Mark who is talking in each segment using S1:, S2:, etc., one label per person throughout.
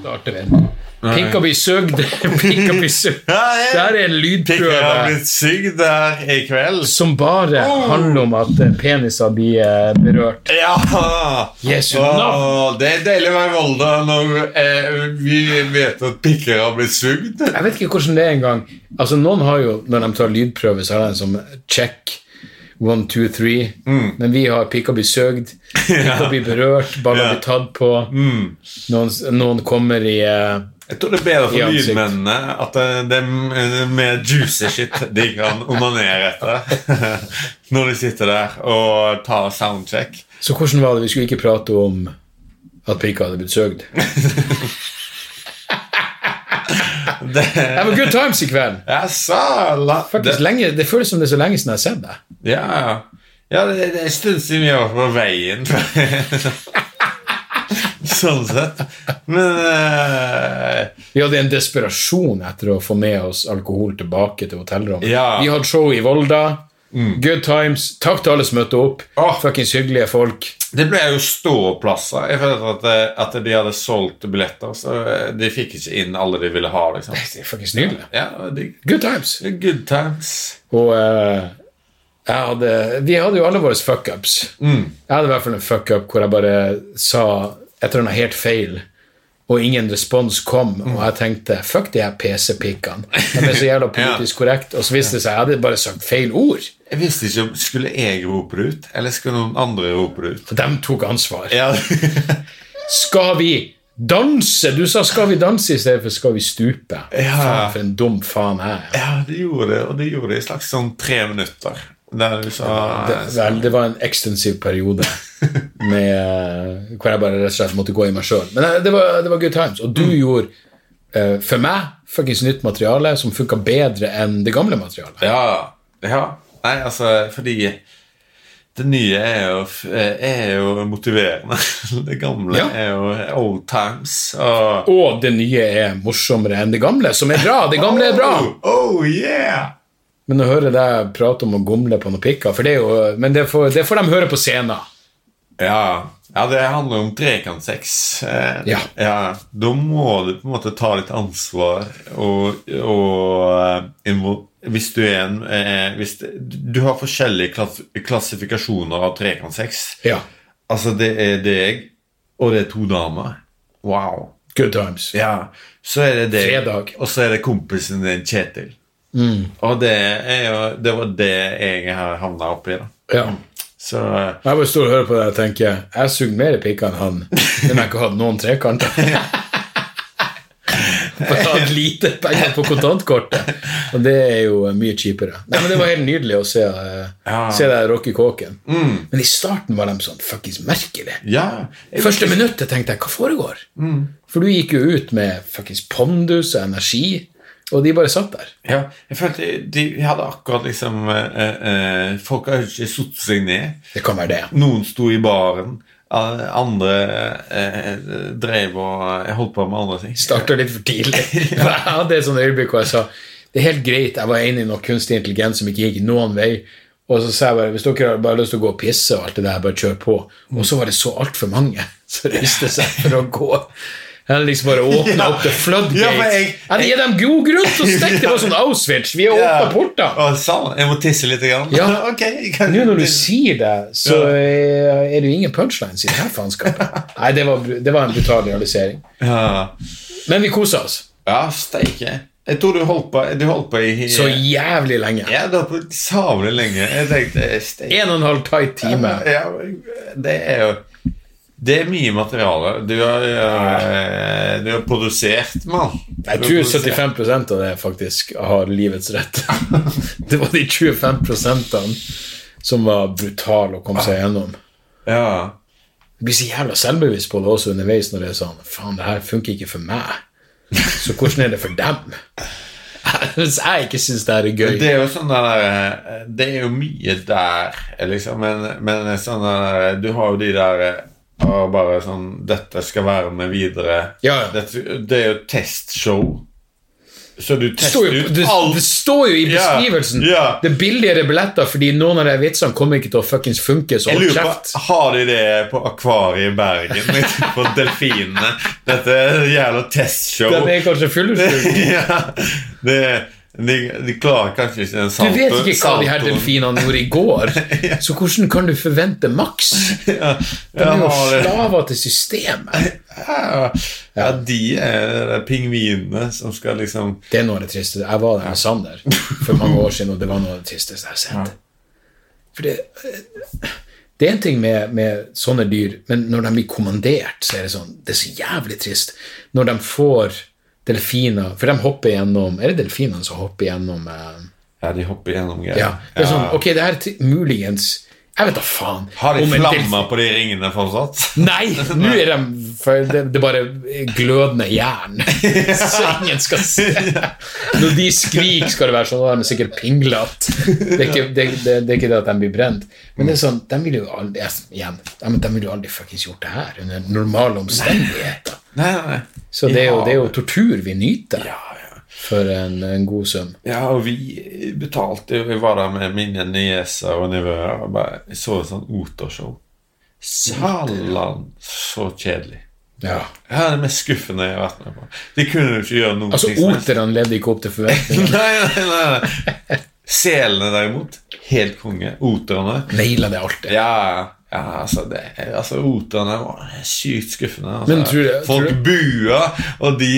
S1: starter vi. Pink og bli søgd. Pink og bli søgd. Der er en
S2: Pikker har
S1: lydprøve
S2: blitt sugd her i kveld.
S1: som bare handler om at eh, peniser blir eh, berørt.
S2: Ja!
S1: Jesu navn!
S2: Åh, det er deilig å være i Volda når eh, vi vet at pikker har blitt sugd.
S1: Jeg vet ikke hvordan det er engang. Altså, noen har jo, når de tar lydprøve, så har de en sånn check. One, two, three.
S2: Mm.
S1: Men vi har pikk og bli søgd, pikk og bli berørt, baller
S2: Ja. Mm.
S1: blir tatt på. Noen, noen kommer i eh,
S2: Jeg tror det er bedre
S1: I
S2: for
S1: ansikt.
S2: lydmennene at det, det er eh, mer juicy shit de kan onanere etter når de sitter der og tar soundcheck.
S1: Så hvordan var det? Vi skulle ikke prate om at pikka hadde blitt søgd. det var good times i kveld.
S2: Jaså! la-
S1: Faktisk,
S2: det-
S1: lenge, det føles som det er så lenge siden jeg har sett deg.
S2: Ja, ja. ja det, det er en stund siden vi var på veien. sånn sett. Men eh,
S1: Vi hadde en desperasjon etter å få med oss alkohol tilbake til hotellrommet.
S2: Ja. Mm.
S1: Vi hadde show i Volda. Good times. Takk til alle som møtte opp.
S2: Åh.
S1: Fuckings hyggelige folk.
S2: Det ble jo ståplasser. Jeg følte at, eh, at de hadde solgt billetter, så eh, de fikk ikke inn alle de ville ha. liksom.
S1: Det er fuckings nydelig.
S2: Ja, det var digg.
S1: Good times.
S2: Good times.
S1: Og eh, jeg hadde, vi hadde jo alle våre fuckups.
S2: Mm.
S1: Jeg hadde i hvert fall en fuckup hvor jeg bare sa et eller annet helt feil, og ingen respons kom, og jeg tenkte fuck de her PC-pikkene. De er så jævla politisk korrekt, og så viste det seg jeg hadde bare sagt feil ord.
S2: Jeg visste ikke om Skulle jeg rope det ut, eller skulle noen andre rope det ut?
S1: Så de tok ansvar.
S2: Ja,
S1: Skal vi danse? Du sa skal vi danse i stedet for skal vi stupe.
S2: Ja.
S1: Faen, for en dum faen jeg er.
S2: ja de gjorde det, og de gjorde det i slags sånn tre minutter. Der du sa
S1: Ah, Det, vel, det var en ekstensiv periode med, eh, hvor jeg bare rett og slett måtte gå i meg sjøl. Men eh, det var, det var good times. Og du gjorde, eh, for meg, fuckings nytt materiale som funka bedre enn det gamle materialet.
S2: Ja, ja. Nei, altså, fordi det nye er jo, f- er jo motiverende. Det gamle
S1: Ja.
S2: er jo old times. Og
S1: Og det nye er morsommere enn det gamle, som er bra. Det gamle er bra.
S2: Oh, oh yeah!
S1: Men å høre deg prate om å gomle på noen pikker for det er jo, Men det får, det får de høre på scenen.
S2: Ja. ja, det handler om trekantsex. Eh,
S1: Ja.
S2: Da må du på en måte ta litt ansvar og, og eh, invo- Hvis du er en eh, hvis, Du har forskjellige klass, klassifikasjoner av trekantsex.
S1: Ja.
S2: Altså, det er deg, og det er to damer. Wow.
S1: Good times.
S2: Ja, så er det deg,
S1: Fredag. Mm.
S2: og så er det kompisen din Kjetil. Og det, er jo, det var det jeg har havna oppi, da.
S1: Ja.
S2: Så
S1: Jeg bare står og hører på deg og tenker jeg suger mer pikker enn han, men jeg har ikke hatt noen trekanter. Bare hatt lite penger på kontantkortet. Og det er jo mye kjipere. Nei, men Det var helt nydelig å se, eh,
S2: Ja. Mm.
S1: se deg rocke kåken. Men i starten var de sånn fuckings merkelig.
S2: ja. Mm.
S1: Første minuttet tenkte jeg 'hva foregår?' For du gikk jo ut med fuckings pondus og energi, og de bare satt der.
S2: ja jeg følte de hadde akkurat liksom eh, eh, Folk har jo ikke satt seg ned.
S1: Det kan være det.
S2: Noen sto i baren. eh, Andre eh, drev og eh, holdt på med andre ting.
S1: Starta litt for tidlig. For jeg hadde et sånt øyeblikk hvor jeg sa det er helt greit, jeg var enig i noe kunstig intelligens som ikke gikk noen vei. Og så sa jeg bare hvis dere har bare lyst til å gå og pisse og alt det der, bare kjør på. Og så var det så altfor mange som reiste seg for å gå. Jeg hadde liksom bare åpna
S2: Ja.
S1: opp the floodgate.
S2: Ja,
S1: Jeg
S2: men jeg-
S1: hadde gitt dem god grunn til å stikke! Det var sånn Auschwitz, vi har åpna porter.
S2: Og sånn, jeg må tisse litt. Grann.
S1: Ja.
S2: ok, jeg kan-
S1: Nå når du sier det, så
S2: Ja.
S1: eh, er det jo ingen punchlines i det her faenskapet. Nei, det var, br- det var en brutal realisering.
S2: Ja,
S1: Men vi kosa oss.
S2: ja steike. Jeg tror du holdt på, du holdt på i
S1: Så jævlig lenge.
S2: Ja, du holdt på savlig lenge. Jeg tenkte eh, steik.
S1: En og en halv tight time.
S2: Ja, det er jo Det er mye materiale. Du har, eh, du har produsert, mann.
S1: Jeg tror 75 av det faktisk har livets rett. Det var de 25 som var brutale å komme seg gjennom.
S2: Ja.
S1: Jeg blir så jævla selvbevisst på det også underveis når det er sånn Faen, det her funker ikke for meg. Så hvordan er det for dem? Hvis jeg ikke syns det her er
S2: Men Det
S1: gøy
S2: er jo sånn der eh, Det er jo mye der, liksom. Men, men sånn der, eh, du har jo de der eh, og bare sånn 'Dette skal være med videre'.
S1: Ja, ja.
S2: Dette, det er jo testshow. Så du
S1: det står,
S2: tester
S1: jo,
S2: ut
S1: det, det
S2: alt.
S1: står jo i beskrivelsen!
S2: Ja, ja.
S1: Det er billigere billetter fordi noen av de vitsene kommer ikke til å fuckings funke. Så
S2: Jeg
S1: hold
S2: lurer
S1: kjeft.
S2: på, Har de det på Akvariet i Bergen? liksom, På delfinene? Dette er et jævla testshow.
S1: Den er kanskje fyllesyk.
S2: ja, det, de, de klarer kanskje ikke den
S1: Du
S2: saltoen.
S1: vet ikke hva de her
S2: saltoen.
S1: delfinene gjorde i går, så hvordan kan du forvente maks?
S2: ja,
S1: De er jo
S2: har det.
S1: slaver til systemet.
S2: Ja, ja, de er de pingvinene som skal liksom
S1: Det er noe av det triste. Jeg var der med Sander for mange år siden, og det var noe av det tristeste jeg har sett. For det, eh, det er en ting med, med sånne dyr, men når de blir kommandert, så er det sånn Det er så jævlig trist. Når de får delfiner For de hopper gjennom Er det delfinene som hopper gjennom eh,
S2: Ja, de hopper gjennom greier.
S1: Ja. Det er sånn, ok, det her er t- muligens Jeg vet da faen.
S2: Har de
S1: om en delfin-
S2: flammer på de ringene fortsatt?
S1: Nei, nå er de for det, det er bare glødende jern. Så ingen skal se. Når de skriker, skal det være sånn. Da er de sikkert pinglete. Det, er ikke- det, det, det er ikke det at de blir brent. Men det er sånn, de ville jo aldri jeg- igjen, ja, men de ville jo aldri fuckings gjort det her under normale omstendigheter.
S2: Nei, nei, nei.
S1: Så det er jo,
S2: Ja.
S1: det er jo tortur vi nyter
S2: Ja, ja.
S1: for en, en god sum.
S2: ja, og vi betalte Vi var der med mine nieser og nevøer og bare jeg så et sånt otershow. Satan, så kjedelig.
S1: Ja.
S2: Ja, det er mest skuffende jeg har vært med på. De kunne jo ikke gjøre noe
S1: Altså, oterne levde ikke opp til forventningene.
S2: Nei, nei, nei. nei. Selene derimot, helt konge. Oterne
S1: Naila det alltid.
S2: Ja, ja altså, det, altså Otene var sykt skuffende. Altså.
S1: Men tror du-
S2: Folk
S1: tror du-
S2: bua, og de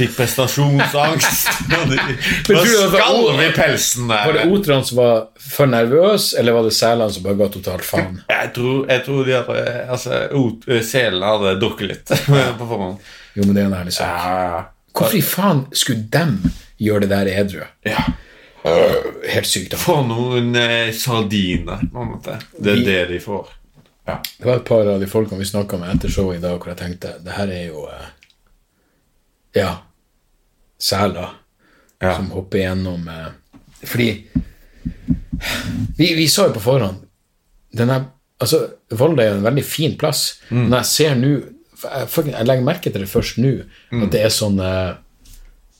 S2: fikk prestasjonsangst. og de
S1: Men
S2: Nå
S1: tror du at det var
S2: skalv i
S1: Otene-
S2: pelsen
S1: Var det
S2: der.
S1: oterne som var for nervøse, eller var det selene som bare ga totalt faen?
S2: Jeg tror, jeg tror de hadde altså, ot, Selene hadde eh, drukket litt på forhånd.
S1: Jo, men det er en ærlig sak.
S2: Ja,
S1: Hvorfor i faen skulle dem gjøre det der edru?
S2: ja.
S1: Helt sykt. da.
S2: For noen eh, sardiner, på en måte. Det er det de får. Ja.
S1: Det var et par av de folkene vi snakka med etter showet i dag, hvor jeg tenkte det her er jo eh, Ja. Seler
S2: Ja.
S1: som hopper gjennom eh, Fordi vi, vi sa jo på forhånd denne, altså, Volda er en veldig fin plass.
S2: Mm.
S1: Men jeg ser nå jeg, fucking- jeg legger merke til det først nå,
S2: Mm.
S1: at det er sånn eh,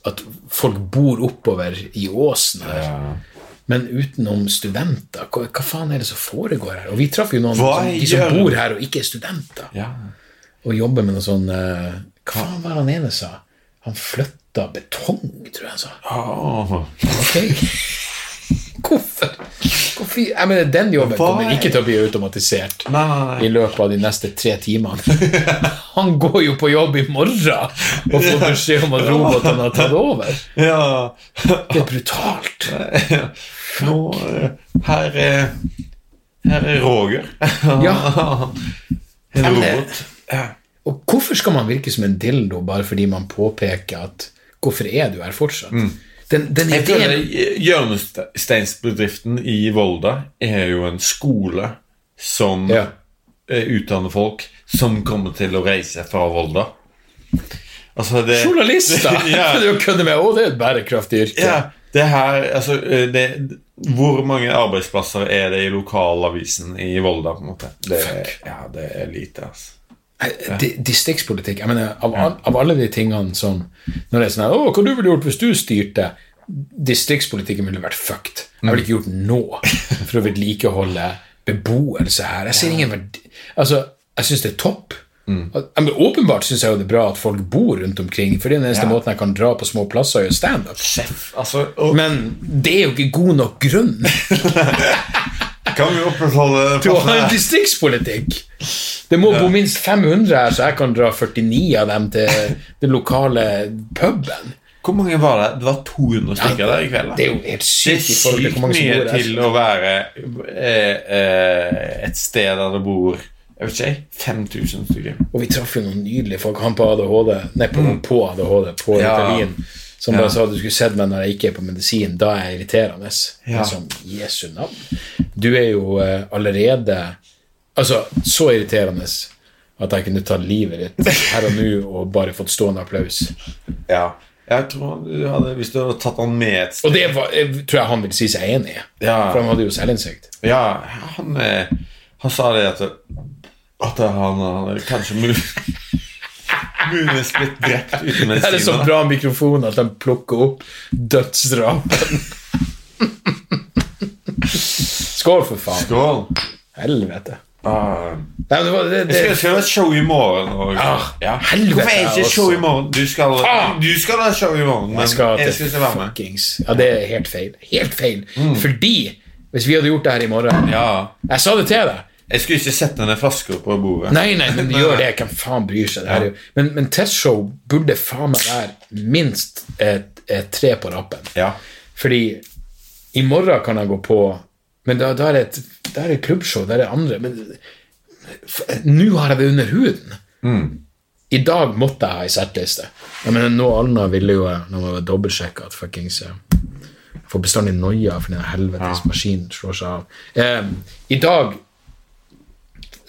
S1: At folk bor oppover i åsen her. Men utenom studenter, hva, hva faen er det som foregår her? Og vi traff jo noen
S2: Hva
S1: som, de som
S2: gjør du?
S1: bor her og ikke er studenter,
S2: Ja.
S1: og jobber med noe sånn eh, Hva faen var det han ene sa? Han flytta betong, tror jeg han sa.
S2: Åh.
S1: Ok. Hvorfor? Hvorfor? Jeg mener, den jobben
S2: Hva
S1: kommer
S2: er-
S1: ikke til å bli automatisert
S2: Nei, nei, nei.
S1: i løpet av de neste tre timene. Han går jo på jobb i morgen og får beskjed om at robotene har tatt over.
S2: Ja.
S1: Det er brutalt.
S2: Nå, eh, her er Her er Roger.
S1: Ja.
S2: En
S1: men eh, det-
S2: robot.
S1: Og hvorfor skal man virke som en dildo bare fordi man påpeker at Hvorfor er du her fortsatt? Den, den
S2: Mm. Jeg føler
S1: ideen
S2: Hjørnesteinsbedriften i Volda er jo en skole som
S1: Ja.
S2: eh, utdanner folk som kommer til å reise fra Volda. Altså det
S1: Journalister!
S2: Ja.
S1: Det er jo å kødde med. Å, det er et bærekraftig yrke.
S2: Ja, det her Altså, eh, det, hvor mange arbeidsplasser er det i lokalavisen i Volda, på en måte? Det, ja, det er lite, altså.
S1: Nei, Eh, di- Distriktspolitikk. Jeg mener, av, al- av alle de tingene som Når det er sånn her, «Å, Hva du ville gjort hvis du styrte? Distriktspolitikken ville vært fucked. Jeg ville ikke gjort noe for å vedlikeholde beboelse her. Jeg ser ingen verdi Altså, jeg syns det er topp. At- jeg mener, åpenbart syns jeg jo det er bra at folk bor rundt omkring, for det er den eneste måten jeg kan dra på små plasser og gjøre standup.
S2: Altså, og,
S1: Men det er jo ikke god nok grunn
S2: Kan vi opprettholde
S1: til å ha en distriktspolitikk! Det må bo minst 500 her, så jeg kan dra 49 av dem til den lokale puben.
S2: Hvor mange var det? Det var 200 stykker der i kveld. da.
S1: Det er jo helt
S2: Det er
S1: sykt i forhold til
S2: sykt
S1: hvor mange som
S2: mye
S1: bor altså.
S2: til
S1: her.
S2: å være eh, eh, et sted der det bor jeg vet ikke, 5000 stykker.
S1: Og vi traff jo noen nydelige folk. Han på ADHD, nei, på, på ADHD, på
S2: Mm. Ja.
S1: Ritalin, som
S2: Ja.
S1: bare sa du skulle sett meg når jeg ikke er på medisin. Da er jeg irriterende.
S2: Ja.
S1: Liksom, Jesu navn. Du er jo eh, allerede Altså, så irriterende at jeg kunne tatt livet ditt her og nå og bare fått stående applaus.
S2: Ja. Jeg tror han- du hadde, Hvis du hadde tatt han med et sted
S1: Og det var, jeg tror jeg han vil si seg enig i,
S2: Ja.
S1: for han hadde jo selvinnsikt.
S2: Ja, han, eh, han sa det at At han, han er kanskje mu- muligens blitt drept uten
S1: Det er en
S2: medisiner.
S1: sånn bra mikrofon at de plukker opp dødsdrapen. Skål, for faen.
S2: Skål.
S1: Helvete.
S2: Ah.
S1: Nei, men det var det,
S2: Jeg skal,
S1: det.
S2: skal ha et show i morgen og- ja.
S1: Eh. Ah, helvete,
S2: Hvorfor er det
S1: jeg
S2: ikke show i
S1: også.
S2: morgen? Du skal,
S1: Faen!
S2: du skal ha show i morgen, men
S1: Jeg skal
S2: jeg
S1: til
S2: skal ikke være med. Mm.
S1: fuckings Ja, det er helt feil. Helt feil. Fordi hvis vi hadde gjort det her i morgen
S2: Ja.
S1: Jeg sa det til deg.
S2: Jeg skulle ikke sette ned flasker på bordet.
S1: Nei, nei, men gjør det. Hvem faen bryr seg? Det her er jo Men, men testshow burde faen meg være minst et, et tre på rappen.
S2: Ja.
S1: Fordi i morgen kan jeg gå på Men da, da er det et da er det klubbshow, da er det andre Men f- nå har jeg det under huden. I dag måtte jeg ha ei settliste. Jeg mener, noe annet ville jo jeg, når jeg var dobbeltsjekka, at fuckings eh, jeg Får bestandig noia fordi den helvetes maskinen slår seg av. Eh, I dag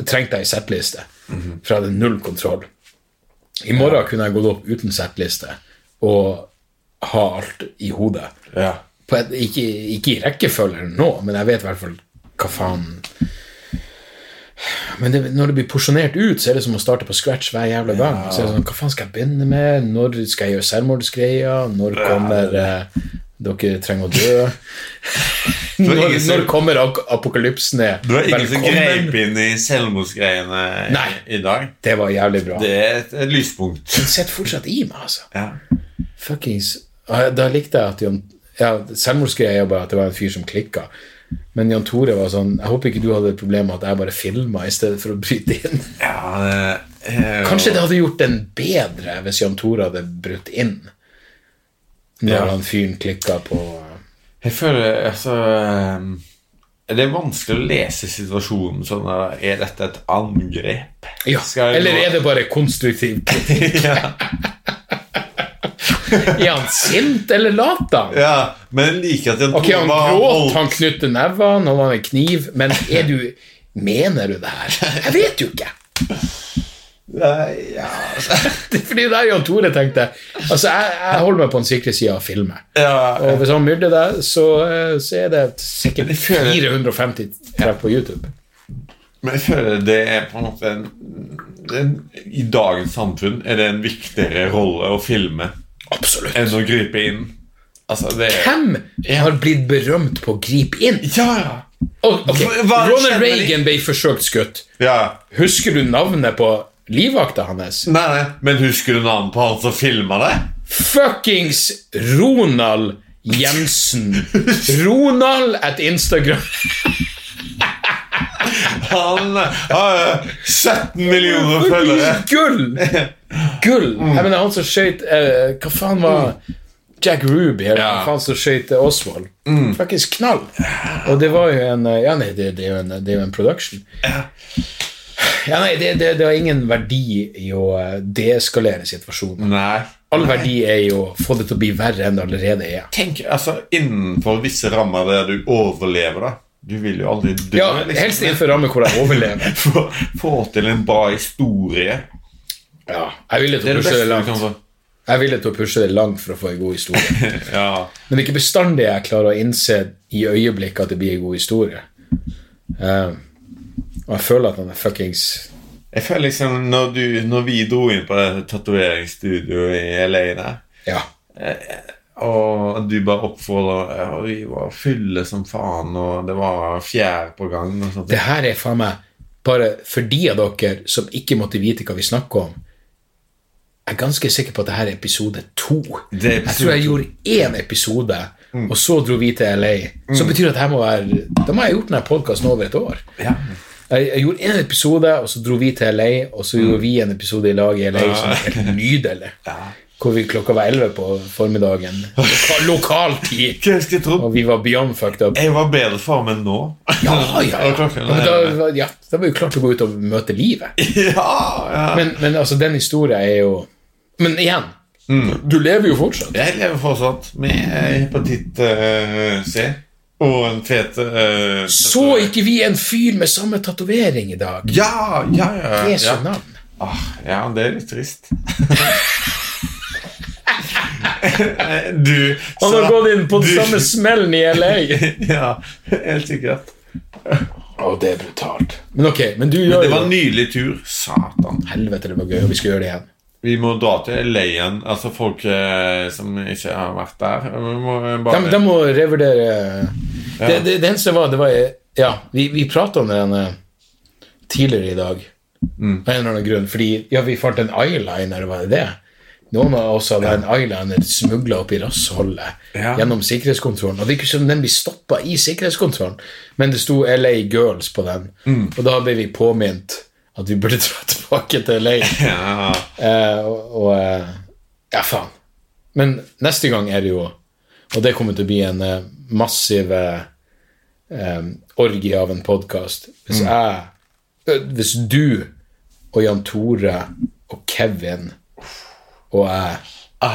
S1: trengte jeg ei settliste, for jeg hadde null kontroll. I morgen kunne jeg gått opp uten settliste og ha alt i hodet.
S2: Ja.
S1: På et, ikke, ikke i rekkefølge eller nå, men jeg vet i hvert fall hva faen Men det, når det blir porsjonert ut, så er det som å starte på scratch hver jævla gang. Så er det sånn, Hva faen skal jeg begynne med? Når skal jeg gjøre selvmordsgreier? Når kommer eh, dere trenger å dø?
S2: var
S1: når,
S2: ingen som-
S1: når kommer ak apokalypsen ned?
S2: Det var ingen som
S1: Velkommen.
S2: grep inn i selvmordsgreiene
S1: Nei.
S2: i- i dag.
S1: Det var jævlig bra.
S2: Det er et, et lyspunkt.
S1: Den sitter fortsatt i meg, altså.
S2: Ja.
S1: Fuckings Ah, Da likte jeg at Jan ja, Selvmordsgreia bare at det var en fyr som klikka. Men Jan Tore var sånn Jeg håper ikke du hadde et problem med at jeg bare filma i stedet for å bryte inn.
S2: ja det eh, er jo-
S1: Kanskje det hadde gjort den bedre hvis Jan Tore hadde brutt inn når
S2: Ja.
S1: han fyren klikka på
S2: Jeg føler altså um, Det er vanskelig å lese situasjonen sånn der, Er dette et angrep?
S1: ja.
S2: Skal jeg
S1: Eller
S2: gå-
S1: er det bare konstruktiv kritikk?
S2: ja.
S1: Er han sint, eller later han?
S2: ja, men jeg liker at Jan
S1: Ok, han
S2: var
S1: gråt,
S2: holdt-
S1: han knytter nevene, han har en kniv, men er du Mener du det her? Jeg vet jo ikke.
S2: Nei, ja.
S1: Det er fordi der Jan Tore tenkte Altså, jeg, jeg holder meg på den sikre sida av filmen.
S2: ja.
S1: Og hvis han myrder deg, så, eh, så er det sikkert
S2: Men jeg føler-
S1: 450 treff på YouTube.
S2: Men jeg føler det er på en måte en, en, I dagens samfunn er det en viktigere rolle å filme
S1: Absolutt.
S2: enn å gripe inn. Altså, det er
S1: Hvem har blitt berømt på å gripe inn?
S2: Ja, ja.
S1: Og- ok,
S2: Hva- hva skjedde
S1: Ronald
S2: med de-
S1: Reagan ble forsøkt skutt.
S2: ja.
S1: Husker du navnet på livvakta hans?
S2: Nei, nei, men husker du navnet på han som filma det?
S1: Fuckings Ronald Jensen. Ronald at Instagram.
S2: Han har eh, 17 millioner følgere.
S1: Fordi Gull! Gull! Jeg mener, han som skøyt eh, Hva faen var Jack Ruby, eller
S2: Ja. Mm.
S1: hva faen som skøyt eh, Oswald? Faktisk knall! Og det var jo en eh, Ja, nei, det, det, er, jo en, det er jo en production. Ja, nei, det, det, det har ingen verdi i å eh, deeskalere situasjonen.
S2: Nei.
S1: All verdi er jo å få det til å bli verre enn det allerede er.
S2: Tenk, altså, innenfor visse rammer der du overlever, da. Du vil jo aldri dø.
S1: Ja,
S2: liksom.
S1: helst innenfor ramme hvor jeg overlever.
S2: få, få til en bra historie.
S1: Ja, jeg ville
S2: Det
S1: til
S2: er det
S1: å pushe
S2: beste
S1: det
S2: du
S1: langt.
S2: kan få.
S1: Jeg er villig til å pushe det langt for å få en god historie.
S2: Ja.
S1: Men det er ikke bestandig jeg klarer å innse i øyeblikket at det blir en god historie. Eh, og jeg føler at han er fuckings
S2: Jeg føler liksom, når, du, når vi dro inn på det tatoveringsstudioet i LA der,
S1: Ja.
S2: og du bare oppfordra Og vi var fulle som faen, og det var fjær på gang og sånt.
S1: Det her er faen meg bare for de av dere som ikke måtte vite hva vi snakker om. Jeg er ganske sikker på at det her er episode to.
S2: Det er
S1: jeg
S2: episode to.
S1: tror jeg
S2: Mm.
S1: gjorde én episode, og så dro vi til LA. Så betyr det at her må være, da må jeg ha gjort denne podkasten over et år.
S2: Ja.
S1: Jeg, jeg gjorde en Mm. episode, og så dro vi til LA, og så gjorde vi en episode i lag i LA som er helt nydelig. hvor vi klokka var 11 på formiddagen. Loka, lokal tid!
S2: Hva skulle jeg trodd?
S1: Og vi var beyond fucked up.
S2: Jeg var bedre form enn nå.
S1: Ja, ja,
S2: Og
S1: ja.
S2: klokken
S1: Men
S2: er-
S1: da, var- ja, da var vi klart å gå ut og møte livet.
S2: Ja, ja.
S1: Men, men altså, den historien er jo Men igjen, du lever jo fortsatt.
S2: Jeg lever fortsatt med eh, hepatitt eh, C og en fet eh,
S1: Så ikke vi en fyr med samme tatovering i dag?
S2: Ja, ja, ja.
S1: Jesu
S2: ja.
S1: navn.
S2: Ah, ja, det er litt trist. du
S1: Han har
S2: så-
S1: gått inn på den
S2: du-
S1: samme smellen i LA.
S2: Ja, helt sikkert.
S1: Å, det er brutalt. Men ok, men du gjør
S2: Det var en
S1: jo
S2: nylig tur. Satan.
S1: Helvete, det var gøy, og vi skal gjøre det igjen.
S2: Vi må dra til LA igjen. Altså folk eh, som ikke har vært der. Vi må eh, bare
S1: De, de må revurdere det, det, det eneste var, det var Ja, vi, vi prata om den eh, tidligere i dag. Av en eller annen grunn. Fordi ja, vi fant en eyeliner, var det det? Noen av oss hadde en eyeliner smugla opp i rassholdet
S2: Ja.
S1: gjennom sikkerhetskontrollen. Og det er ikke som den blir stoppa i sikkerhetskontrollen, men det sto LA Girls på den. Og da ble vi påminnet at vi burde dra tilbake til LA.
S2: ja.
S1: Eh, og og eh, Ja, faen. Men neste gang er det jo Og det kommer til å bli en eh, massiv eh, eh, orgie av en podkast.
S2: Mm.
S1: Hvis jeg ø, Hvis du og Jan Tore og Kevin og jeg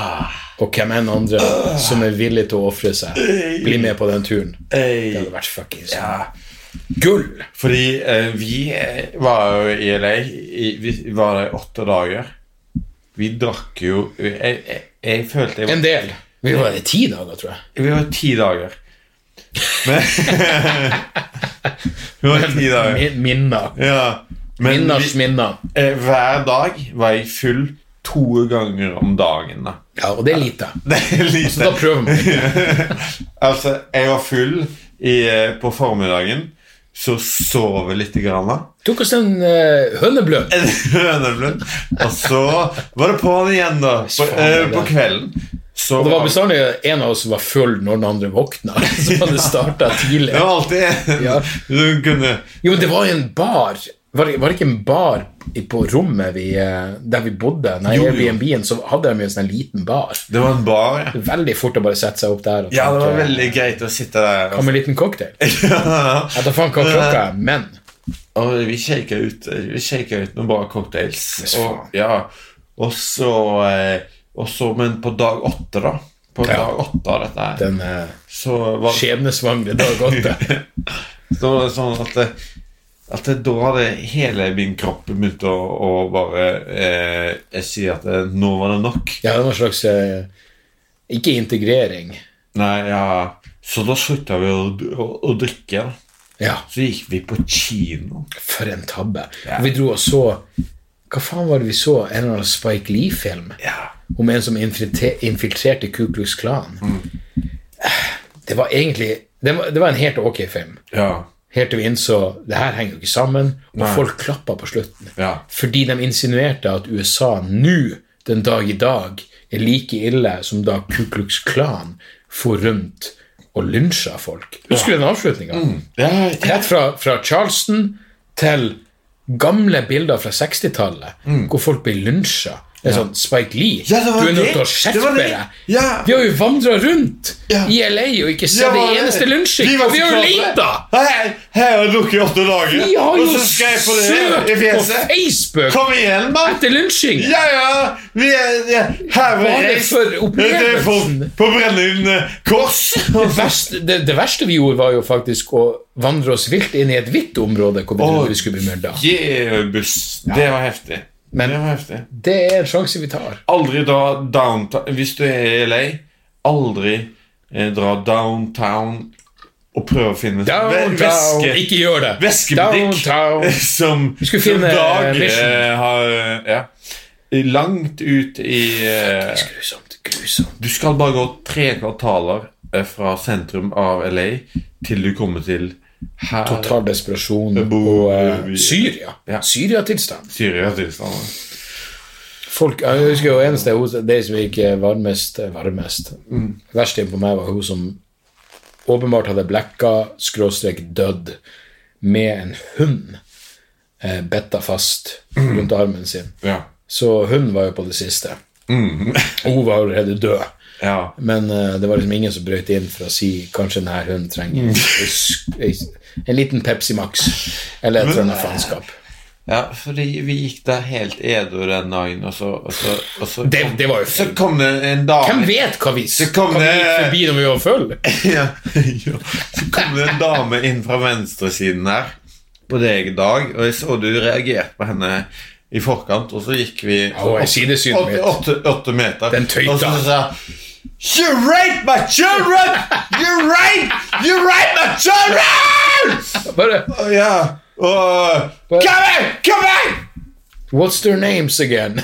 S1: og hvem enn andre som er villig til å ofre seg, blir med på den turen. Det hadde vært fuckings gull!
S2: Fordi eh, vi eh, var jo i LA i, Vi var der i åtte dager. Vi drakk jo Jeg, jeg, jeg følte jeg var
S1: En del. Vi var i ti dager, tror jeg.
S2: Vi var ti dager. Men, vi var ti dager.
S1: Min- Minner.
S2: Ja. Men
S1: Minners
S2: vi,
S1: minner.
S2: eh, hver dag var jeg full to ganger om dagen. Da.
S1: Ja, og det er lite.
S2: Det er lite.
S1: Da prøver man.
S2: altså, jeg var full i, eh, på formiddagen, så sov jeg litt. Grann, da.
S1: Tok oss en uh, hønebløt.
S2: En høneblund. Og så var det på'n igjen, da. På, eh, på kvelden. Så
S1: Og det var bestandig en av oss som var full når den andre våkna. Så hadde det starta tidlig.
S2: det var alltid en
S1: Ja.
S2: som kunne
S1: Jo, men det var jo en bar. Var det, var det ikke en bar i- på rommet vi, eh, der vi bodde? Nei,
S2: Jo, jo.
S1: Airbnb-en så hadde de jo en sånn liten bar.
S2: Det var en bar, ja.
S1: Veldig fort å bare sette seg opp der. Og
S2: Ja, det var
S1: tenke,
S2: veldig greit å sitte der.
S1: Kom en liten cocktail. Jeg
S2: Ja.
S1: vet da faen hva klokka er, men
S2: Og vi shaka ut, vi shaka ut noen bra cocktails.
S1: Yes,
S2: Og, ja. og så eh, og så- Men på dag åtte, da. På
S1: Ja.
S2: dag åtte av dette her,
S1: den eh,
S2: så var
S1: skjebnesvangre dag åtte
S2: så var det sånn at det, at det, da hadde hele min kropp begynt å, å bare eh, jeg sier at eh, nå var det nok.
S1: Ja, det var en slags eh, Ikke integrering.
S2: Nei, ja. Så da slutta vi å, å, å drikke. da.
S1: Ja.
S2: Så gikk vi på kino.
S1: For en tabbe. Og vi dro og så Hva faen var det vi så? En eller annen Spike Lee-film
S2: Ja.
S1: om en som infiltre- infiltrerte Ku Klux Klan. Det var egentlig det var, det var en helt ok film.
S2: Ja.
S1: Helt til vi innså det her henger jo ikke sammen, og folk klappa på slutten.
S2: Ja.
S1: Fordi de insinuerte at USA nå, den dag i dag, er like ille som da Ku Klux Klan for rundt og lynsja folk. Husker du den avslutninga?
S2: Ja,
S1: Rett fra, fra Charleston til gamle bilder fra 60-tallet, hvor folk blir lynsja. Det er sånn Spike Lee.
S2: Mm. Ja, det var
S1: du er nødt
S2: det.
S1: til å
S2: Det var
S1: skjerpe
S2: det.
S1: deg!
S2: Ja.
S1: Vi har jo vandra rundt
S2: Ja.
S1: i LA og ikke sett
S2: Ja,
S1: det
S2: var
S1: eneste lunsjing!
S2: Vi var
S1: Og vi har jo
S2: så klare.
S1: leita!
S2: Hei, Her har jeg drukket i åtte dager.
S1: Vi har
S2: og
S1: jo
S2: så skal jeg på
S1: søkt
S2: det i
S1: på
S2: fjeset.
S1: Facebook
S2: Kom igjen, mann!
S1: etter lunsjing!
S2: Ja, ja! Vi er, ja. Her
S1: Hva er det for
S2: Dette er
S1: opplevelsen?
S2: folk på brennende eh, kors.
S1: Det verste, det, det verste vi gjorde, var jo faktisk å vandre oss vilt inn i et hvitt område hvor vi
S2: Å,
S1: trodde vi skulle bli myrda.
S2: Yeah, eh, buss. Det var heftig.
S1: Men-
S2: det var heftig.
S1: Det er en sjanse vi tar.
S2: Aldri dra downtown Hvis du er i LA, aldri eh, dra downtown og prøve å finne
S1: Downtown,
S2: væske-
S1: ikke gjør det!
S2: Væskebutikk
S1: Downtown.
S2: som,
S1: Vi skulle
S2: som
S1: finne, eh,
S2: Dag
S1: Mission.
S2: eh, har eh, ja, Langt ut i eh,
S1: Grusomt, grusomt.
S2: Du skal bare gå tre kvartaler eh, fra sentrum av LA til du kommer til her
S1: Total desperasjon
S2: Det bor-
S1: og eh,
S2: vi-
S1: Syria.
S2: Ja.
S1: Syriatilstand.
S2: Syria-tilstander.
S1: Folk, jeg husker jo eneste hun, De som gikk eh, varmest varmest.
S2: Mm.
S1: Verst inn på meg var hun som åpenbart hadde blekka, skråstrek dødd, med en hund eh, betta fast rundt armen sin.
S2: Mm. Ja. Mm.
S1: Så hun var jo på det siste. Og hun var allerede død.
S2: Ja.
S1: Men eh, det var liksom ingen som brøt inn for å si kanskje denne hunden trenger en sk- en- en liten Pepsi Max eller et eller annet faenskap.
S2: ja, fordi vi gikk der helt edru den dagen, og så, og så, og så
S1: Det, det var jo
S2: Så
S1: feil.
S2: kom det en dame
S1: Hvem vet hva vi
S2: Så
S1: hva
S2: kom
S1: vi gikk
S2: det-
S1: forbi når vi var full?
S2: ja, ja. Så kom det en dame inn fra venstresiden her på deg i dag, og jeg så du reagerte på henne i forkant, og så gikk vi
S1: hun er sidesynet
S2: åtte,
S1: mitt.
S2: åtte, åtte meter.
S1: Den tøyta.
S2: Og så sa hun, You rape my children! You rape! You rape my children!
S1: Bare
S2: Og ja, og Come back! Come back!
S1: What's their names again?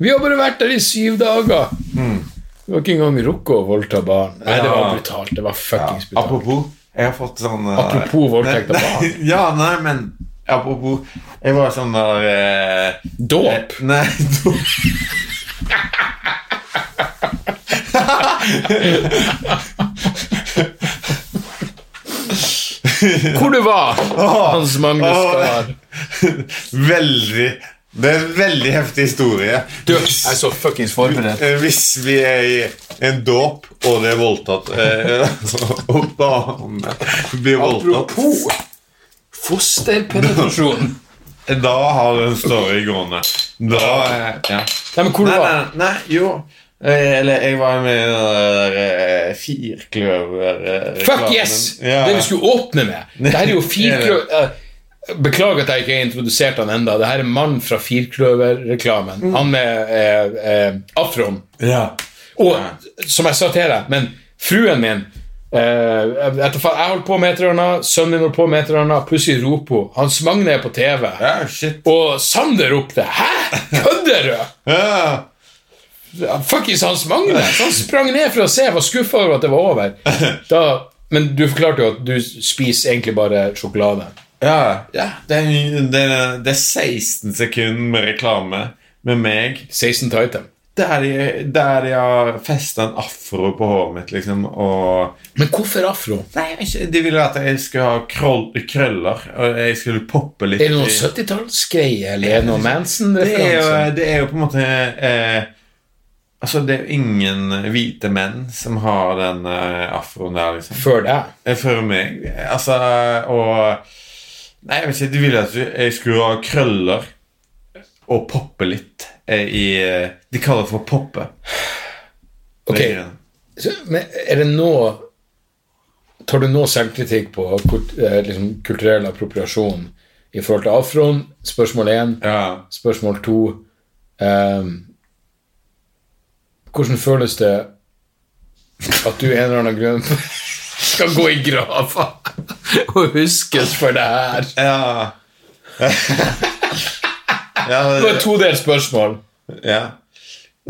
S1: Vi har bare vært der i syv dager. Vi har ikke engang rukket å voldta barn. Nei, det var
S2: Hmm. Ja.
S1: brutalt. Det var fuckings brutalt.
S2: Apropos, jeg har fått sånn eh,
S1: Apropos voldtekt av
S2: nei, nei, Ja, nei, men apropos Jeg var sånn der eh,
S1: Dåp!
S2: eh, Nei, dåp.
S1: Hvor du var, Hans Magnus
S2: Åh.
S1: Gahr?
S2: Veldig Det er en veldig heftig historie.
S1: Du, jeg er så fuckings forberedt.
S2: Eh, Hvis vi er i en dåp, og det er voldtatt eh, Og damene blir voldtatt
S1: Apropos fosterpenetrasjon.
S2: Da har du en story gående. Da eh, ja.
S1: Nei, men hvor du
S2: Nei,
S1: var?
S2: nei, nei, jo Eh, Eller jeg var med i den der eh, firkløver eh,
S1: Fuck
S2: reklamen.
S1: yes!
S2: Ja.
S1: Det vi skulle åpne med. Det her er jo firkløver Eh, Beklager at jeg ikke har introdusert han enda Det her er mannen fra Firkløver-reklamen.
S2: Mm.
S1: Han med eh, eh, afroen.
S2: ja.
S1: Og som jeg sa til deg, men fruen min eh, etter, faen, Jeg holdt på med et eller annet, sønnen min holdt på med et eller annet, plutselig roper hun. Hans Magne er på TV.
S2: ja, shit.
S1: Og Sander ropte 'Hæ? Kødder du?'
S2: Ja.
S1: Fuckings Hans Magne! Så han sprang ned for å se, var skuffa over at det var over. Da, men du forklarte jo at du spiser egentlig bare sjokolade.
S2: Ja, ja. Det, er, det, er, det er 16 sekunder med reklame med meg
S1: 16 Titan.
S2: der de, der de har festa en afro på håret mitt, liksom, og
S1: Men hvorfor afro?
S2: Nei, jeg vet ikke, de ville at jeg skulle ha kroll, krøller, og jeg skulle poppe litt
S1: Er det noe
S2: i-
S1: 70-tallsgreie, eller er det
S2: Det er,
S1: noe
S2: jo,
S1: Manson-referanse?
S2: det er jo på en måte eh, Altså, det er jo ingen hvite menn som har den eh, afroen der, liksom.
S1: Før deg.
S2: Eh, For meg. Altså, og Nei, jeg vet ikke. De ville at jeg skulle ha krøller og poppe litt eh, i eh, De kaller det for poppe.
S1: Ok, så- men er det nå Tar du nå selvkritikk på kort- eh, liksom, kulturell appropriasjon i forhold til afroen? Spørsmål én.
S2: Ja.
S1: Spørsmål to ehm, Hvordan føles det at du en eller annen grunn skal gå i grava og huskes for det her?
S2: Ja. ja,
S1: Det var et todelt spørsmål.
S2: ja.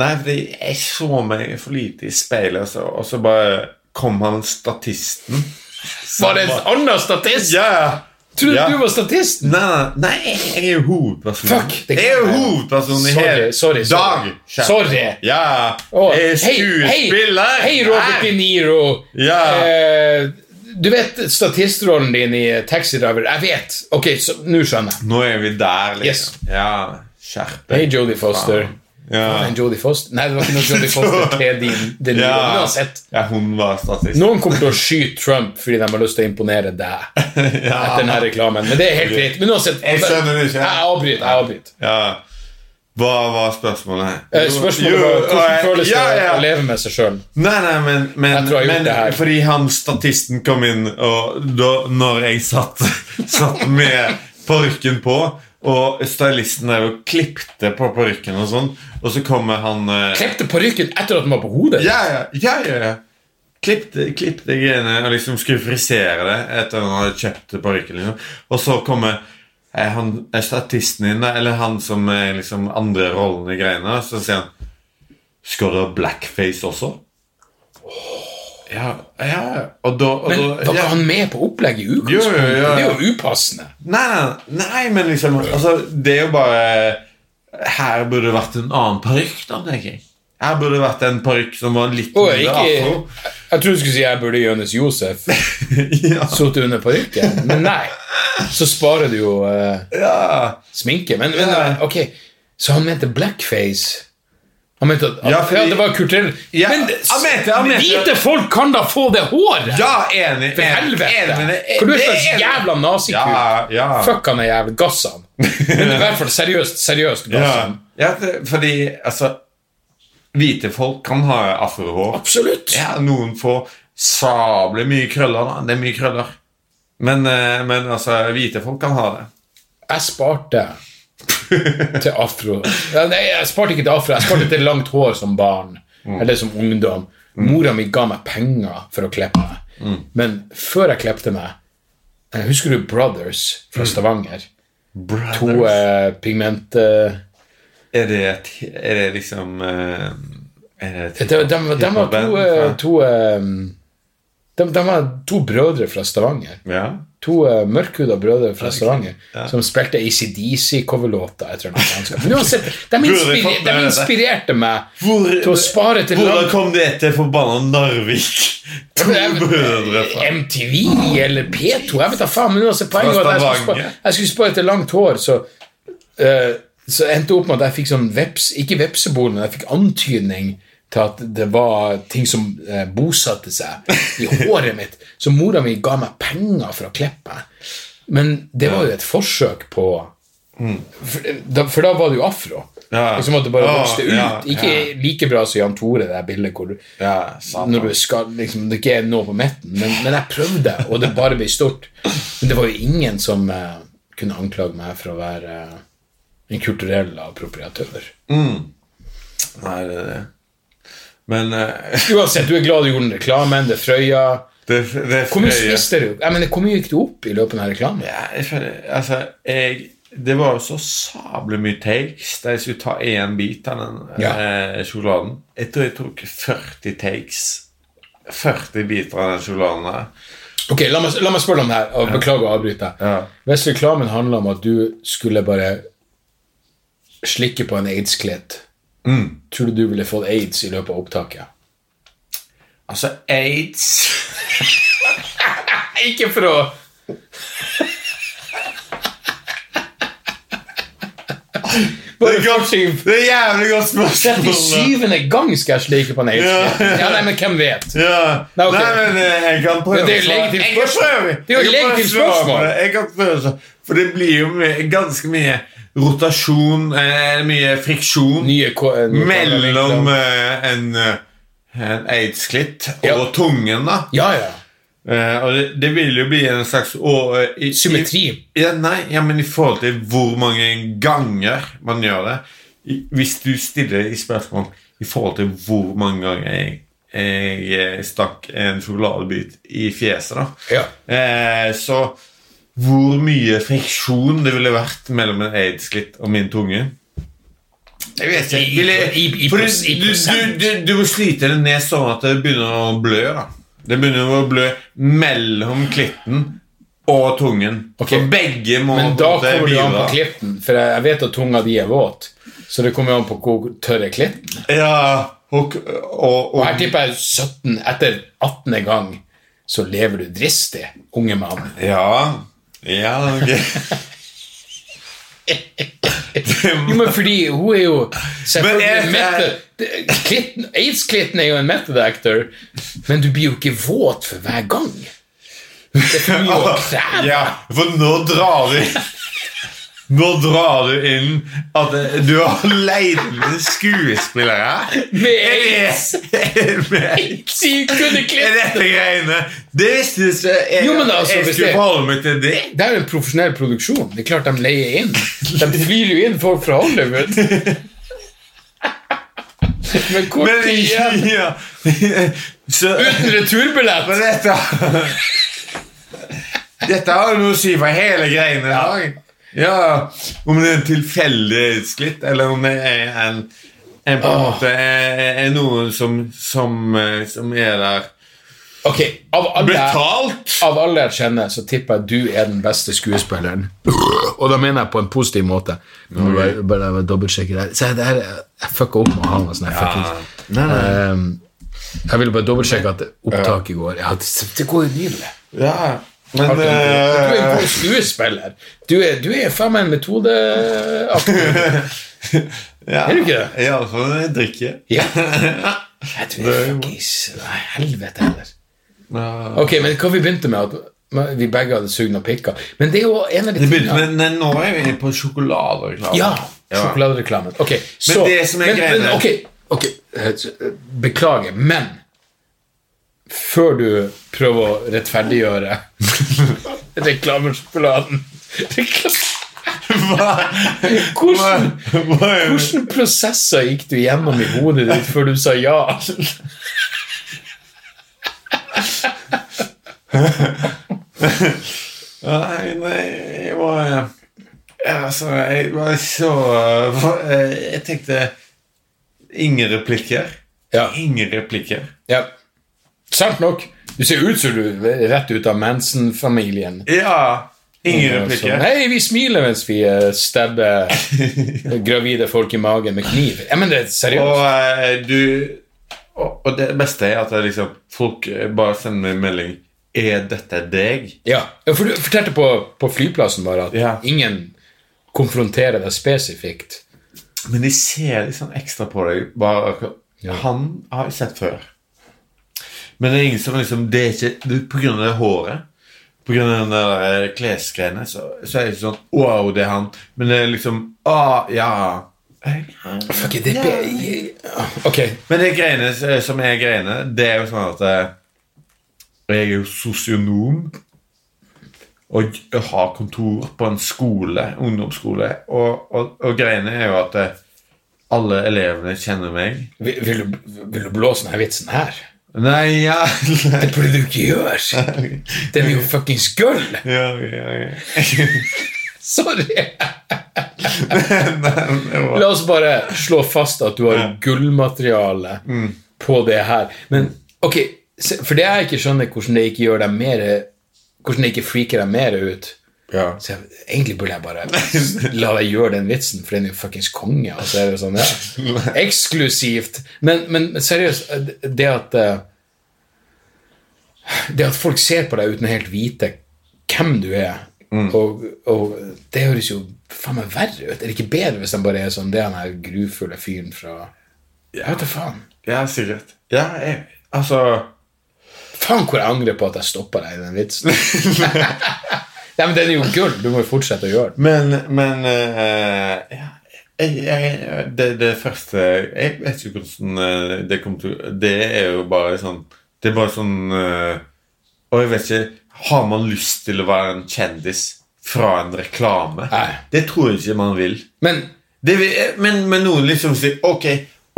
S2: Nei, fordi jeg så meg for lite i speilet, og så, og så bare kom han statisten.
S1: Var det en annen statist?
S2: Ja, ja.
S1: Trodde
S2: Ja.
S1: du var statisten?
S2: Nei, nei, nei, jeg er jo hovedpersonen.
S1: Fuck, det kan
S2: jeg er jo
S1: være.
S2: hovedpersonen Sånn i
S1: Sorry,
S2: hele
S1: sorry, sorry.
S2: dag. kjære.
S1: Sorry.
S2: Ja,
S1: Å,
S2: jeg er
S1: hei,
S2: skuespiller.
S1: Hei, hei Robert De Niro.
S2: Ja.
S1: Eh, du vet statistrollen din i Taxi Driver. Jeg vet. Ok, så nå skjønner jeg.
S2: Nå er vi der, liksom.
S1: Yes.
S2: Ja, skjerp
S1: Hei,
S2: deg.
S1: Jodie Foster. Var det
S2: Ja.
S1: en Jodie Foster? Nei, det var ikke noe Jodie Foster til din, din
S2: Ja.
S1: uansett.
S2: ja, hun var statist.
S1: Noen kommer til å skyte Trump fordi de har lyst til å imponere deg
S2: ja.
S1: etter denne reklamen, men det er helt greit. Men uansett
S2: Jeg skjønner det ikke.
S1: Jeg avbryter. Jeg avbryter.
S2: ja. Hva var spørsmålet? eh,
S1: Eh, Spørsmålet var hvordan føles det
S2: ja, ja.
S1: å leve med seg sjøl?
S2: Nei, nei, men,
S1: Jeg
S2: men,
S1: tror jeg har gjort
S2: men
S1: det her.
S2: fordi han statisten kom inn, og da når jeg satt, satt med parykken på og stylisten der og klippte på parykken og sånn, og så kommer han eh,
S1: Klepte parykken etter at den var på hodet?
S2: Ja, ja, ja, ja, ja. Klipp det, klipp det greiene og liksom skulle frisere det etter han hadde kjøpt parykken. Liksom. Og så kommer eh, han, eh, statisten inn, da, eller han som er liksom andre rollen i greiene, da, så sier han Skal du ha blackface også? Ja, ja, ja. Og da, og
S1: Men
S2: da
S1: var
S2: altså, ja.
S1: ikke han med på opplegget i
S2: Jo,
S1: utgangspunktet?
S2: jo, jo, jo.
S1: Det er jo upassende.
S2: Nei, nei, nei, men liksom altså, Det er jo bare Her burde det vært en annen parykk, da, tenker jeg. Her burde det vært en parykk som var litt
S1: Å,
S2: mindre
S1: ikke,
S2: afro.
S1: jeg trodde du skulle si jeg burde Jonis Josef
S2: ja.
S1: sittet under parykken, men nei. så sparer du jo eh, sminke. Men, men eh, ok, så han mente blackface. Han mente at, at
S2: Ja,
S1: ja,
S2: fordi-
S1: det var kulturell
S2: Ja,
S1: Men det-
S2: han mente- han mente-
S1: hvite folk kan da få det håret!
S2: Ja, enig.
S1: For
S2: enig,
S1: helvete!
S2: enig, men det-
S1: For du er
S2: det
S1: en slags
S2: enig.
S1: jævla nazikuk.
S2: Ja, ja.
S1: Fuck han er jævlig gass han. Men i hvert fall seriøst, seriøst gass
S2: Ja,
S1: han.
S2: ja det- fordi altså Hvite folk kan ha afrohår.
S1: Absolutt!
S2: Ja, noen får sabler mye krøller. da Det er mye krøller. Men, eh, men altså, hvite folk kan ha det.
S1: Jeg sparte til afro. Ja, Nei, jeg sparte ikke til afro, jeg sparte til langt hår som barn. Eller som ungdom. Mora mi ga meg penger for å klippe meg. Men før jeg klippte meg jeg Husker du Brothers fra Stavanger? To eh, pigment... Eh,
S2: Er det, et- er det liksom eh, er det et-
S1: de, de, de var to, eh,
S2: band fra-
S1: to eh, de, de var to brødre fra Stavanger.
S2: Ja.
S1: to uh, mørkhuda brødre fra Stavanger som spilte ACDC-coverlåter. etter en amerikansk. Men uansett, de, inspir
S2: fått med
S1: de
S2: det.
S1: inspirerte meg
S2: Hvor-
S1: til å spare til
S2: Hvordan
S1: land.
S2: kom det til forbanna Narvik? To brødre fra
S1: MTV eller P2, jeg vet da faen. Men uansett, poenget var at jeg skulle
S2: Stavanger.
S1: spare, jeg skulle spare til langt hår, så eh, så endte det opp med at jeg fikk sånn veps, ikke vepsebol, men jeg fikk antydning til at det var ting som eh, bosatte seg i håret mitt. Så mora mi ga meg penger for å klippe. Men det var jo et forsøk på for, da, for da var det jo afro.
S2: Mm. Ja.
S1: Liksom at det bare
S2: Ja,
S1: vokste ut.
S2: ja,
S1: ikke
S2: ja.
S1: like bra som Jan Tore, det der bildet hvor du,
S2: Ja, sant.
S1: når du skal, liksom, det ikke er noe på midten. Men, men jeg prøvde, og det bare ble stort. Men det var jo ingen som eh, kunne anklage meg for å være eh, en kulturell appropriatør.
S2: Nei, det er det. Men eh,
S1: Uansett, du er glad du gjorde den reklamen, det er Frøya.
S2: det, det
S1: Hvor mye
S2: jeg-
S1: spiste du? Jeg mener, hvor mye gikk du opp i løpet av denne reklamen?
S2: Ja, jeg føler, altså, jeg, det var jo så sablig mye takes da jeg skulle ta én bit av den
S1: Ja.
S2: eh, sjokoladen. Jeg tror jeg tok 40 takes. 40 biter av den sjokoladen der.
S1: Ok, la meg, la meg spørre deg om det her, og beklager å avbryte.
S2: Ja.
S1: Hvis reklamen handler om at du skulle bare slikke på en aids-klitt,
S2: Mm.
S1: tror du du ville fått aids i løpet av opptaket?
S2: Altså, aids
S1: Ikke for å
S2: Det er, godt, det er jævlig godt spørsmål.
S1: 37. gang skal jeg slike på en aids-klitt.
S2: Ja.
S1: Ja, nei, men hvem vet?
S2: Ja.
S1: Nei, ok.
S2: Nei, men eh, jeg kan prøve.
S1: Men det er jo
S2: å svare. Jeg
S1: legitimt
S2: kan
S1: spørsmål.
S2: prøve.
S1: Det er
S2: Jeg kan prøve å svare på det.
S1: jo legitimt spørsmål.
S2: Jeg kan prøve, å svare. For det blir jo mye, ganske mye rotasjon, eh, mye friksjon.
S1: Nye ko- eh, nye
S2: mellom
S1: kameravinkler.
S2: eh, en, eh, en AIDS-klitt og
S1: Ja.
S2: tungen, da.
S1: Ja, ja.
S2: Eh, og det, det vil jo bli en slags å, eh, i,
S1: Symmetri.
S2: I, ja, nei, ja, men i forhold til hvor mange ganger man gjør det i, Hvis du stiller i spørsmål i forhold til hvor mange ganger jeg, jeg eh, stakk en sjokoladebit i fjeset, da
S1: Ja.
S2: eh, Så hvor mye friksjon det ville vært mellom en AIDS-klitt og min tunge jeg vet ikke.
S1: I-
S2: Ville,
S1: i- i
S2: for
S1: pros- i
S2: du, du,
S1: prosent.
S2: du, du må slite det ned sånn at det begynner å blø. da Det begynner å blø mellom klitten og tungen.
S1: Ok.
S2: For begge må
S1: Men da
S2: på en måte
S1: kommer det an på
S2: bidra.
S1: klitten, for jeg jeg vet at tunga di er våt. Så det kommer an på hvor tørr er klitten.
S2: Ja, og, og, og,
S1: Og her tipper jeg 17 Etter 18. gang så lever du dristig, unge mann.
S2: Ja. Ja, ok.
S1: Jo, men fordi hun er jo selvfølgelig
S2: Men jeg-
S1: method- det- klitten- Aids-klitten er jo en method actor, men du blir jo ikke våt for hver gang. Det er for mye å kreve.
S2: ja, for nå drar du Nå drar du inn at du har leid inn skuespillere.
S1: Med aids.
S2: aids!
S1: Sykt kunne
S2: Er
S1: klitt.
S2: dette greiene? Det visste jeg ikke. Jeg,
S1: Jo, men altså,
S2: jeg
S1: hvis
S2: skulle
S1: det-
S2: forholde meg til det.
S1: Det er jo en profesjonell produksjon. Det er klart de leier inn. De flyr jo inn folk fra Hollywood. Men kort
S2: Men
S1: tid igjen.
S2: ja. Så,
S1: Uten returbillett.
S2: men dette Dette har jo noe å si for hele greiene. Ja. ja. Om det er en tilfeldig skritt, eller om det er en, en på en
S1: Åh.
S2: måte er, er noen som, som, eh, som er der
S1: Ok, av alle,
S2: Betalt!
S1: av alle jeg kjenner, så tipper jeg du er den beste skuespilleren. Og da mener jeg på en positiv måte. Nå må jeg bare, bare dobbeltsjekke det her. Se, det her Jeg fucka opp med å ha noe sånn her fuckings
S2: Nei, nei.
S1: Ehm, Jeg ville bare dobbeltsjekke at opptaket går. Ja, det, det går jo nydelig.
S2: Ja. Men
S1: Du er en
S2: eh,
S1: god skuespiller. Du er, du er faen meg en metode...
S2: ja, altså,
S1: Er du ikke det?
S2: Iallfall når jeg drikker.
S1: Ja. Jeg tror jeg fuckings Nei, helvete heller. Ok, men hva vi begynte med? At vi begge hadde sugd noen pikker. Men det er jo en av de
S2: Det begynte,
S1: tingene
S2: men nei, nå er vi på sjokoladereklame.
S1: Ja! Sjokoladereklamen. Ok, så
S2: det som er
S1: men,
S2: greia
S1: men,
S2: der-
S1: ok, ok, eh, Beklager, men før du prøver å rettferdiggjøre reklamesjokoladen Reklam- Hvordan, hvordan prosesser gikk du gjennom i hodet ditt før du sa ja?
S2: Nei, nei, jeg var ja, Altså, jeg var så eh, Jeg tenkte Ingen replikker.
S1: Ja.
S2: Ingen replikker.
S1: ja. Sant nok. Du ser ut som du er rett ut av Manson-familien.
S2: Ja! Ingen
S1: Sånn,
S2: replikker.
S1: Hei, vi smiler mens vi eh, stabber gravide folk i magen med kniv. Ja, men det er
S2: Og
S1: seriøst.
S2: eh, du og, og det beste er at det liksom, folk eh, bare sender meg en melding Er dette deg?
S1: Ja, ja, for du fortalte på, på flyplassen bare at
S2: Ja.
S1: ingen konfronterer deg spesifikt.
S2: Men de ser litt sånn ekstra på deg. Bare, akkurat- Han har jeg sett før. Men det er ingen som liksom det er ikke, det, På grunn av det håret, på grunn av den der eh, klesgreiene, så, så er det ikke sånn Wow, det er han. Men det er liksom ah, ja.
S1: Fuck, det er be- Ok,
S2: Men det greiene s- som er greiene, det er jo sånn at eh, Jeg er jo sosionom. Og jeg har kontor på en skole, ungdomsskole. Og, og, og greiene er jo at eh, alle elevene kjenner meg.
S1: vil, vil, du, vil du blåse denne vitsen her?
S2: Nei, ja
S1: Det burde du ikke gjøre! Det er jo fuckings gull!
S2: Ja, ja, ja.
S1: Sorry! La oss bare slå fast at du har gullmateriale
S2: Mm.
S1: på det her. Men ok, se- For det jeg ikke skjønner, hvordan det ikke gjør deg mer Hvordan det ikke freaker deg mer ut.
S2: Ja.
S1: Så jeg, egentlig burde jeg bare la deg gjøre den vitsen, for den er jo fuckings konge. Og så er det jo sånn, ja. Eksklusivt. Men, men seriøst, det at eh, Det at folk ser på deg uten å helt vite hvem du er,
S2: Mm.
S1: og, og det høres jo faen meg verre ut. Er det ikke bedre hvis de bare er sånn Det er den her grufulle fyren fra Jeg vet da faen.
S2: ja sikkert. Ja, jeg, altså
S1: Faen hvor jeg angrer på at jeg stoppa deg i den vitsen. Nei, men den er jo gull. Du må jo fortsette å gjøre den.
S2: Men, men eh, ja, jeg, jeg, det, det første Jeg vet ikke hvordan eh, det kommer til Det er jo bare sånn Det er bare sånn eh, Og jeg vet ikke Har man lyst til å være en kjendis fra en reklame?
S1: Nei.
S2: Det tror jeg ikke man vil.
S1: Men
S2: Det vil men, men noen liksom sier Ok,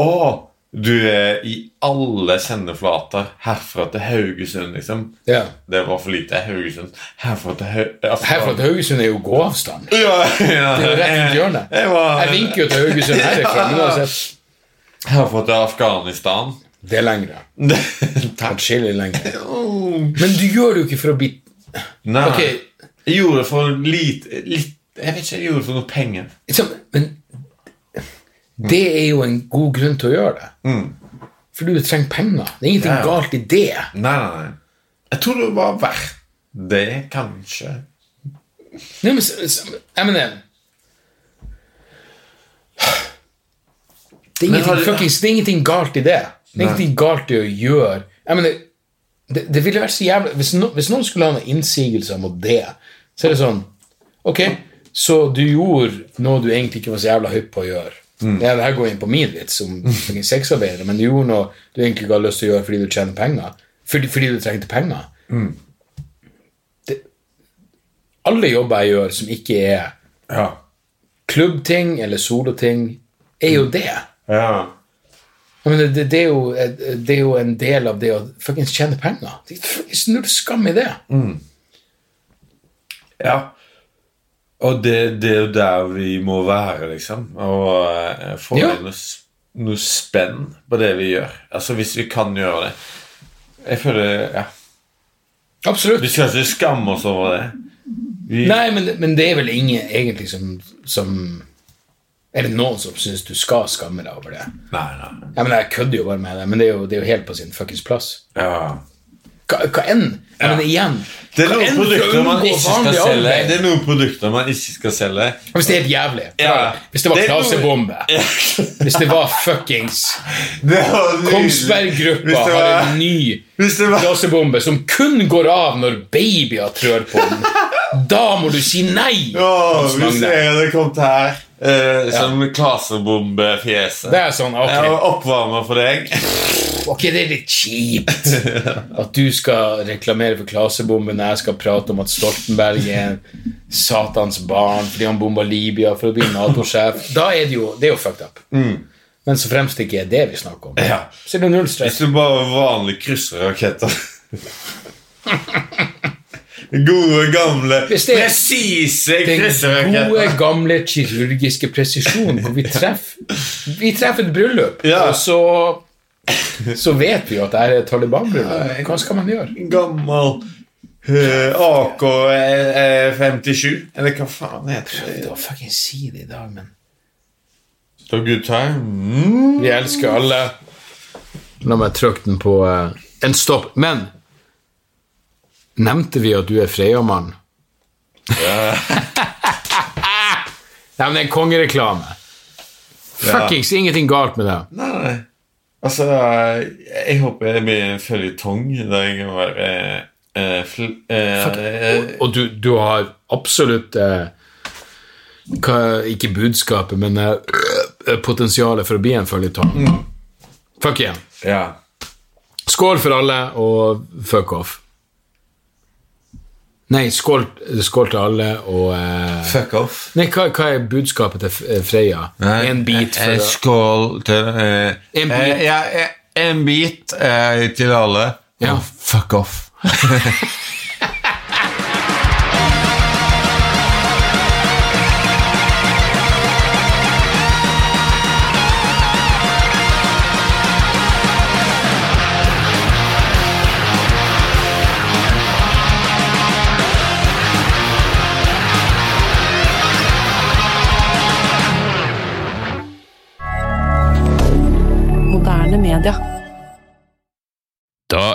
S2: å, du er i alle sendeflater herfra til Haugesund, liksom.
S1: ja.
S2: Det var for lite Haugesund. Herfra til Haugesund
S1: herfra til Haugesund er jo gåavstand.
S2: ja, ja.
S1: Det er jo rett rundt hjørnet.
S2: Jeg, var,
S1: Jeg vinker jo til Haugesund herifra, men uansett.
S2: Jeg har fått til Afghanistan.
S1: Det er lengre.
S2: Takk.
S1: Atskillig lengre. Men du gjør det jo ikke for å bli
S2: Nei.
S1: Ok.
S2: Jeg gjorde det for lite, litt Jeg vet ikke, jeg gjorde det for noe penger.
S1: liksom, Men det er jo en god grunn til å gjøre det. For du trenger penger. Det er ingenting
S2: Mm. Ja.
S1: galt i det.
S2: Nei, nei, nei. Jeg tror det var verdt det, kanskje.
S1: Nei, men s- s- jeg mener Det er
S2: Men har
S1: ingenting,
S2: du-
S1: fuckings, det er ingenting galt i det. Det er ingenting galt i å gjøre jeg mener, det, det ville vært så jævlig hvis, no, hvis noen skulle ha noen innsigelser mot det, så er det sånn Ok, så du gjorde noe du egentlig ikke var så jævla hypp på å gjøre.
S2: Mm.
S1: Ja, det her går inn på min vits om fucking sexarbeidere, men du gjorde noe du egentlig ikke hadde lyst til å gjøre fordi du tjener penger. Fordi, fordi du trengte penger alle jobber jeg gjør som ikke er
S2: Ja.
S1: klubbting eller soloting, er
S2: Mm.
S1: jo det.
S2: ja.
S1: Jeg mener, det, det, er jo, eh, det er jo en del av det å fuckings tjene penger. Det er fuckings null skam i det.
S2: Mm. ja. Og det, det er jo der vi må være, liksom. Og eh, få
S1: Ja.
S2: inn noe, s- noe spenn på det vi gjør. Altså, hvis vi kan gjøre det. Jeg føler Ja.
S1: Absolutt.
S2: Vi skal ikke skamme oss over det. Vi,
S1: Nei, men, men det er vel ingen egentlig som, som Er det noen som syns du skal skamme deg over det?
S2: nei, nei.
S1: Jeg, mener, jeg kødder jo bare med det, men det er jo, det er jo helt på sin fuckings plass.
S2: Ja.
S1: Hva, hva enn? Jeg mener, igjen,
S2: Det er
S1: Hva
S2: noen
S1: enn
S2: produkter
S1: skal
S2: man
S1: unngå
S2: ikke skal
S1: vanlig
S2: selge.
S1: arbeid?
S2: Det er noen produkter man ikke skal selge.
S1: Hvis det er helt jævlig.
S2: Ja.
S1: Hvis det var
S2: Det er noe-
S1: klasebombe. Hvis det var fuckings
S2: Det var nydelig.
S1: Kongsberg-gruppa
S2: Hvis det
S1: har
S2: var-
S1: en ny
S2: Hvis det var
S1: klasebombe som kun går av når babyer trør på den. Da må du si nei!
S2: Åh,
S1: Hans
S2: Hvis
S1: Magne.
S2: jeg hadde kommet her eh, som klasebombefjeset
S1: Det er sånn, ok.
S2: Jeg var oppvarma for deg.
S1: Ok, det er litt kjipt at du skal reklamere for klasebomben når jeg skal prate om at Stoltenberg er en satans barn fordi han bomba Libya for å bli Nato-sjef. Da er det jo, det er jo fucked up. Men så fremst det ikke er det vi snakker om.
S2: Mm. Ja.
S1: Så er det null stress.
S2: Hvis du bare var vanlig krysser raketter. Gode, gamle,
S1: Hvis det-
S2: presise
S1: Den gode,
S2: krysserraketter.
S1: gamle kirurgiske presisjonen hvor vi treffer Vi treffer et bryllup,
S2: Ja.
S1: og så så vet vi jo at det er et Taliban-bryllup. Hva skal man gjøre?
S2: Gammel eh,
S1: eh,
S2: AK-57. Eller hva faen heter det?
S1: Da fucking si det i dag, men
S2: The good time. Mm.
S1: Vi elsker alle. La meg trykke den på eh, en stopp. Men nevnte vi at du er Freia-mann? Nei, men det er en kongereklame. Fuckings ingenting galt med det.
S2: Nei, nei. Altså, jeg håper det blir en føljetong der jeg kan være eh, eh, fl eh,
S1: Og du, du har absolutt eh, hva, Ikke budskapet, men eh, øh, potensialet for å bli en føljetong. Fuck igjen.
S2: Ja.
S1: Skål for alle, og fuck off. Nei, skål, skål til alle, og eh,
S2: Fuck off.
S1: Nei, hva, hva er budskapet til F- eh, Freya? en bit
S2: eh, eh,
S1: for å
S2: Skål til eh,
S1: En bit.
S2: eh, ja, eh, en bit eh, til alle.
S1: Ja.
S2: Og fuck off.
S3: Moderne media.
S4: Da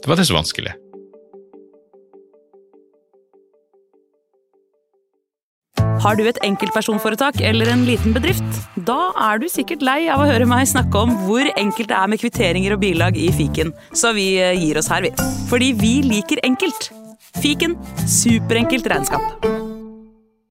S4: Det var det så vanskelig.
S5: Har du et enkeltpersonforetak eller en liten bedrift? Da er du sikkert lei av å høre meg snakke om hvor enkelt det er med kvitteringer og bilag i fiken, så vi eh, gir oss her, vi. Fordi vi liker enkelt. Fiken superenkelt regnskap.